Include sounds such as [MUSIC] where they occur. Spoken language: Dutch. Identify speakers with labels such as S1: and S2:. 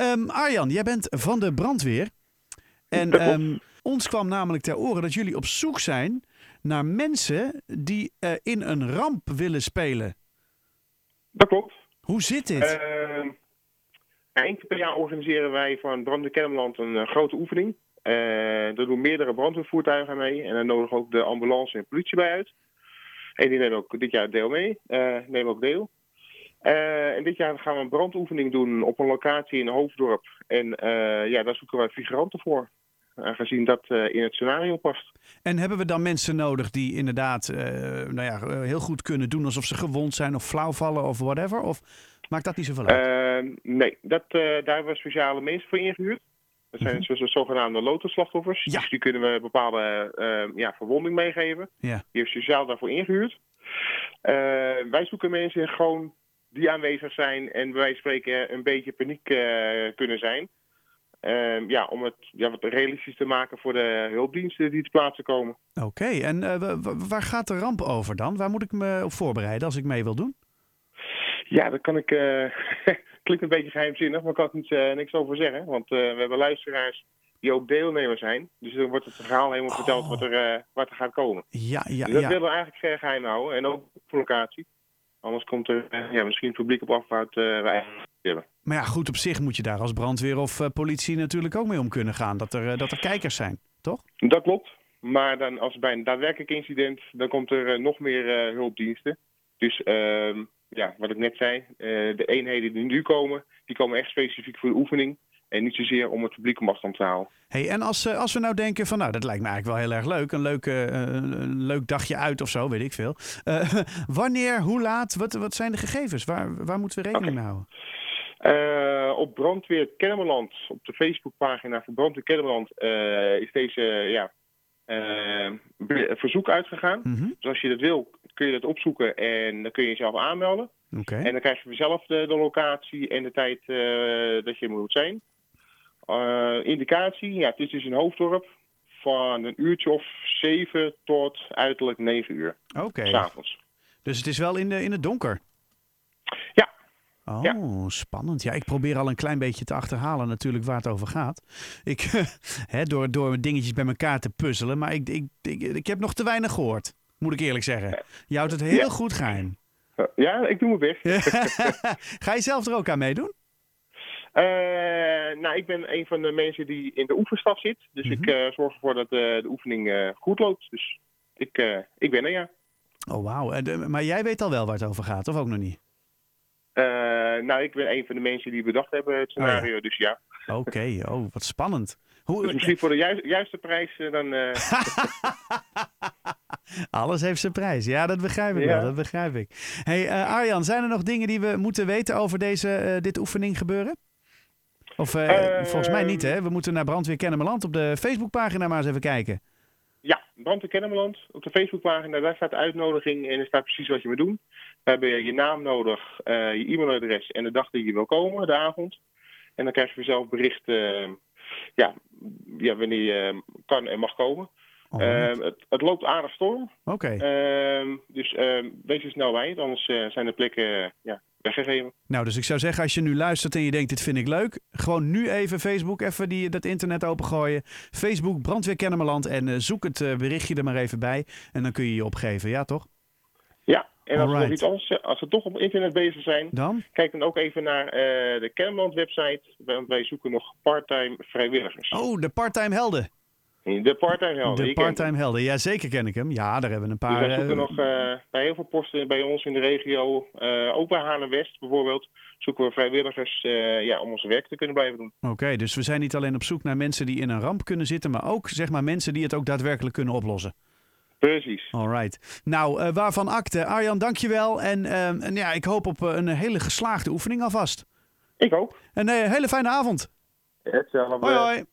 S1: Ehm, Arjan, jij bent van de brandweer. En
S2: Dat klopt.
S1: ehm, ons kwam namelijk ter oren dat jullie op zoek zijn naar mensen die eh, in een ramp willen spelen.
S2: Dat klopt.
S1: Hoe zit dit?
S2: Ehm, ja, één keer per jaar organiseren wij van Brandweer Kennemerland een eh, grote oefening. Eh daar doen meerdere brandweervoertuigen aan mee. En daar nodigen we ook de ambulance en politie bij uit. En die nemen ook dit jaar deel mee. eh, nemen ook deel. Eh, en dit jaar gaan we een brandoefening doen op een locatie in Hoofddorp. En eh, ja, daar zoeken wij figuranten voor. Aangezien dat eh, in het scenario past.
S1: En hebben we dan mensen nodig die inderdaad eh, nou ja, eh, heel goed kunnen doen alsof ze gewond zijn of flauw vallen of whatever? Of maakt dat niet zoveel uit?
S2: Ehm, nee, dat, eh, daar hebben we speciale mensen voor ingehuurd. Dat zijn zo- zo- zogenaamde lotenslachtoffers.
S1: Mhm. Ja.
S2: Dus die kunnen we bepaalde eh, ja, verwonding meegeven.
S1: ja.
S2: Die hebben we speciaal daarvoor ingehuurd. Eh, wij zoeken mensen gewoon die aanwezig zijn en bij wijze van spreken een beetje paniek eh, kunnen zijn. Ehm, ja, om het ja, wat realistisch te maken voor de hulpdiensten die te plaatsen komen.
S1: Oké, en eh, wa- wa- waar gaat de ramp over dan? Waar moet ik me op voorbereiden als ik mee wil doen?
S2: Ja, dat kan ik. eh, [LAUGHS] klinkt een beetje geheimzinnig, maar kan ik niet, eh, niks over zeggen. Want eh, we hebben luisteraars die ook deelnemer zijn. Dus dan wordt het verhaal helemaal verteld wat er, eh, wat er gaat komen.
S1: Ja, Oh. ja,
S2: Dus dat
S1: ja.
S2: willen we eigenlijk eh, geheim houden. En ook voor locatie. Anders komt er eh, ja, misschien het publiek op af waar het, eh, we eigenlijk niet willen.
S1: Maar ja, goed, op zich moet je daar als brandweer of eh, politie natuurlijk ook mee om kunnen gaan. Dat er, eh, dat er kijkers zijn, toch?
S2: Dat klopt. Maar dan als bij een daadwerkelijk incident, dan komt er eh, nog meer eh, hulpdiensten. Dus ehm, ja, wat ik net zei, eh, de eenheden die nu komen, die komen echt specifiek voor de oefening. En niet zozeer om het publiek om afstand te houden.
S1: Hey, en als, eh, als we nou denken van, nou, dat lijkt me eigenlijk wel heel erg leuk. Een, leuke, eh, een leuk dagje uit of zo, weet ik veel. Eh, [LAUGHS] wanneer, hoe laat, wat, wat zijn de gegevens? Waar, waar moeten we rekening mee houden?
S2: Eh, op Brandweer Kennemerland, op de Facebookpagina van Brandweer Kennemerland, eh, is deze ja, eh, be- verzoek uitgegaan.
S1: Mhm,
S2: Dus als je dat wil, kun je dat opzoeken en dan kun je jezelf aanmelden.
S1: Oké.
S2: En dan krijg je zelf de, de locatie en de tijd eh, dat je er moet zijn. Eh, indicatie, ja, het is dus een hoofddorp van een uurtje of zeven tot uiterlijk negen uur,
S1: Oké.
S2: s'avonds.
S1: Dus het is wel in, de, in het donker.
S2: Ja.
S1: Oh,
S2: Ja.
S1: spannend. Ja, ik probeer al een klein beetje te achterhalen natuurlijk waar het over gaat. Ik, [LAUGHS] hè, door, door dingetjes bij elkaar te puzzelen. Maar ik, ik, ik, ik heb nog te weinig gehoord, moet ik eerlijk zeggen. Je houdt het heel
S2: Ja.
S1: goed geheim.
S2: Eh, ja, ik doe mijn best.
S1: [LAUGHS] Ga je zelf er ook aan meedoen?
S2: Eh, nou, ik ben een van de mensen die in de oefenstaf zit. Dus ik eh, zorg ervoor dat eh, de oefening eh, goed loopt. Dus ik, eh, ik ben er, ja.
S1: Oh, wauw. En, eh, Maar jij weet al wel waar het over gaat, of ook nog niet?
S2: Eh, nou, ik ben een van de mensen die bedacht hebben het scenario. Dus ja,
S1: Oké, oh, wat spannend.
S2: dus
S1: Hoe,
S2: [LAUGHS] misschien voor de juiste, juiste prijs eh, dan... eh,
S1: Alles heeft zijn prijs. Ja, dat begrijp ik
S2: Ja.
S1: wel. Dat begrijp ik. hey, eh, Arjan, zijn er nog dingen die we moeten weten over deze, eh, dit oefening gebeuren? Of eh,
S2: Ehm.
S1: volgens mij niet, hè? We moeten naar Brandweer Kennemerland op de Facebookpagina maar eens even kijken.
S2: ja, Brand in Kennemerland. Op de Facebookpagina, daar staat de uitnodiging en er staat precies wat je moet doen. Daar heb je je naam nodig, eh, je e-mailadres en de dag dat je wil komen, de avond. En dan krijg je vanzelf bericht eh, ja, ja, wanneer je eh, kan en mag komen.
S1: Oh,
S2: Ehm, het, het loopt aardig storm.
S1: Oké.
S2: Ehm, dus ehm, wees er snel bij, anders eh, zijn de plekken eh, ja, weggegeven.
S1: Nou, dus ik zou zeggen, als je nu luistert en je denkt, dit vind ik leuk, gewoon nu even Facebook, even die, dat internet opengooien. Facebook, Brandweer Kennemerland en eh, zoek het eh, berichtje er maar even bij. En dan kun je je opgeven, ja toch?
S2: Ja, en als we
S1: Alright.
S2: nog iets anders, eh, als we toch op internet bezig zijn,
S1: Dan?
S2: kijk dan ook even naar eh, de Kennemerland website. Want wij zoeken nog part-time vrijwilligers.
S1: Oh, de part-time helden.
S2: De part-time helden.
S1: De
S2: je kent
S1: part-time helden. Ja, zeker ken ik hem. Ja, daar hebben we een
S2: hem. Dus
S1: paar.
S2: wij
S1: eh,
S2: zoeken nog eh, bij heel veel posten bij ons in de regio, eh, ook bij Haarlem-West bijvoorbeeld, zoeken we vrijwilligers eh, ja, om ons werk te kunnen blijven doen.
S1: Oké, dus we zijn niet alleen op zoek naar mensen die in een ramp kunnen zitten, maar ook zeg maar mensen die het ook daadwerkelijk kunnen oplossen.
S2: Precies.
S1: Alright. Nou, eh, waarvan akte. Arjan, dankjewel. En, ehm, en ja, ik hoop op eh, een hele geslaagde oefening alvast.
S2: Ik ook.
S1: Een eh, hele fijne avond.
S2: Hetzelfde.
S1: Hoi hoi.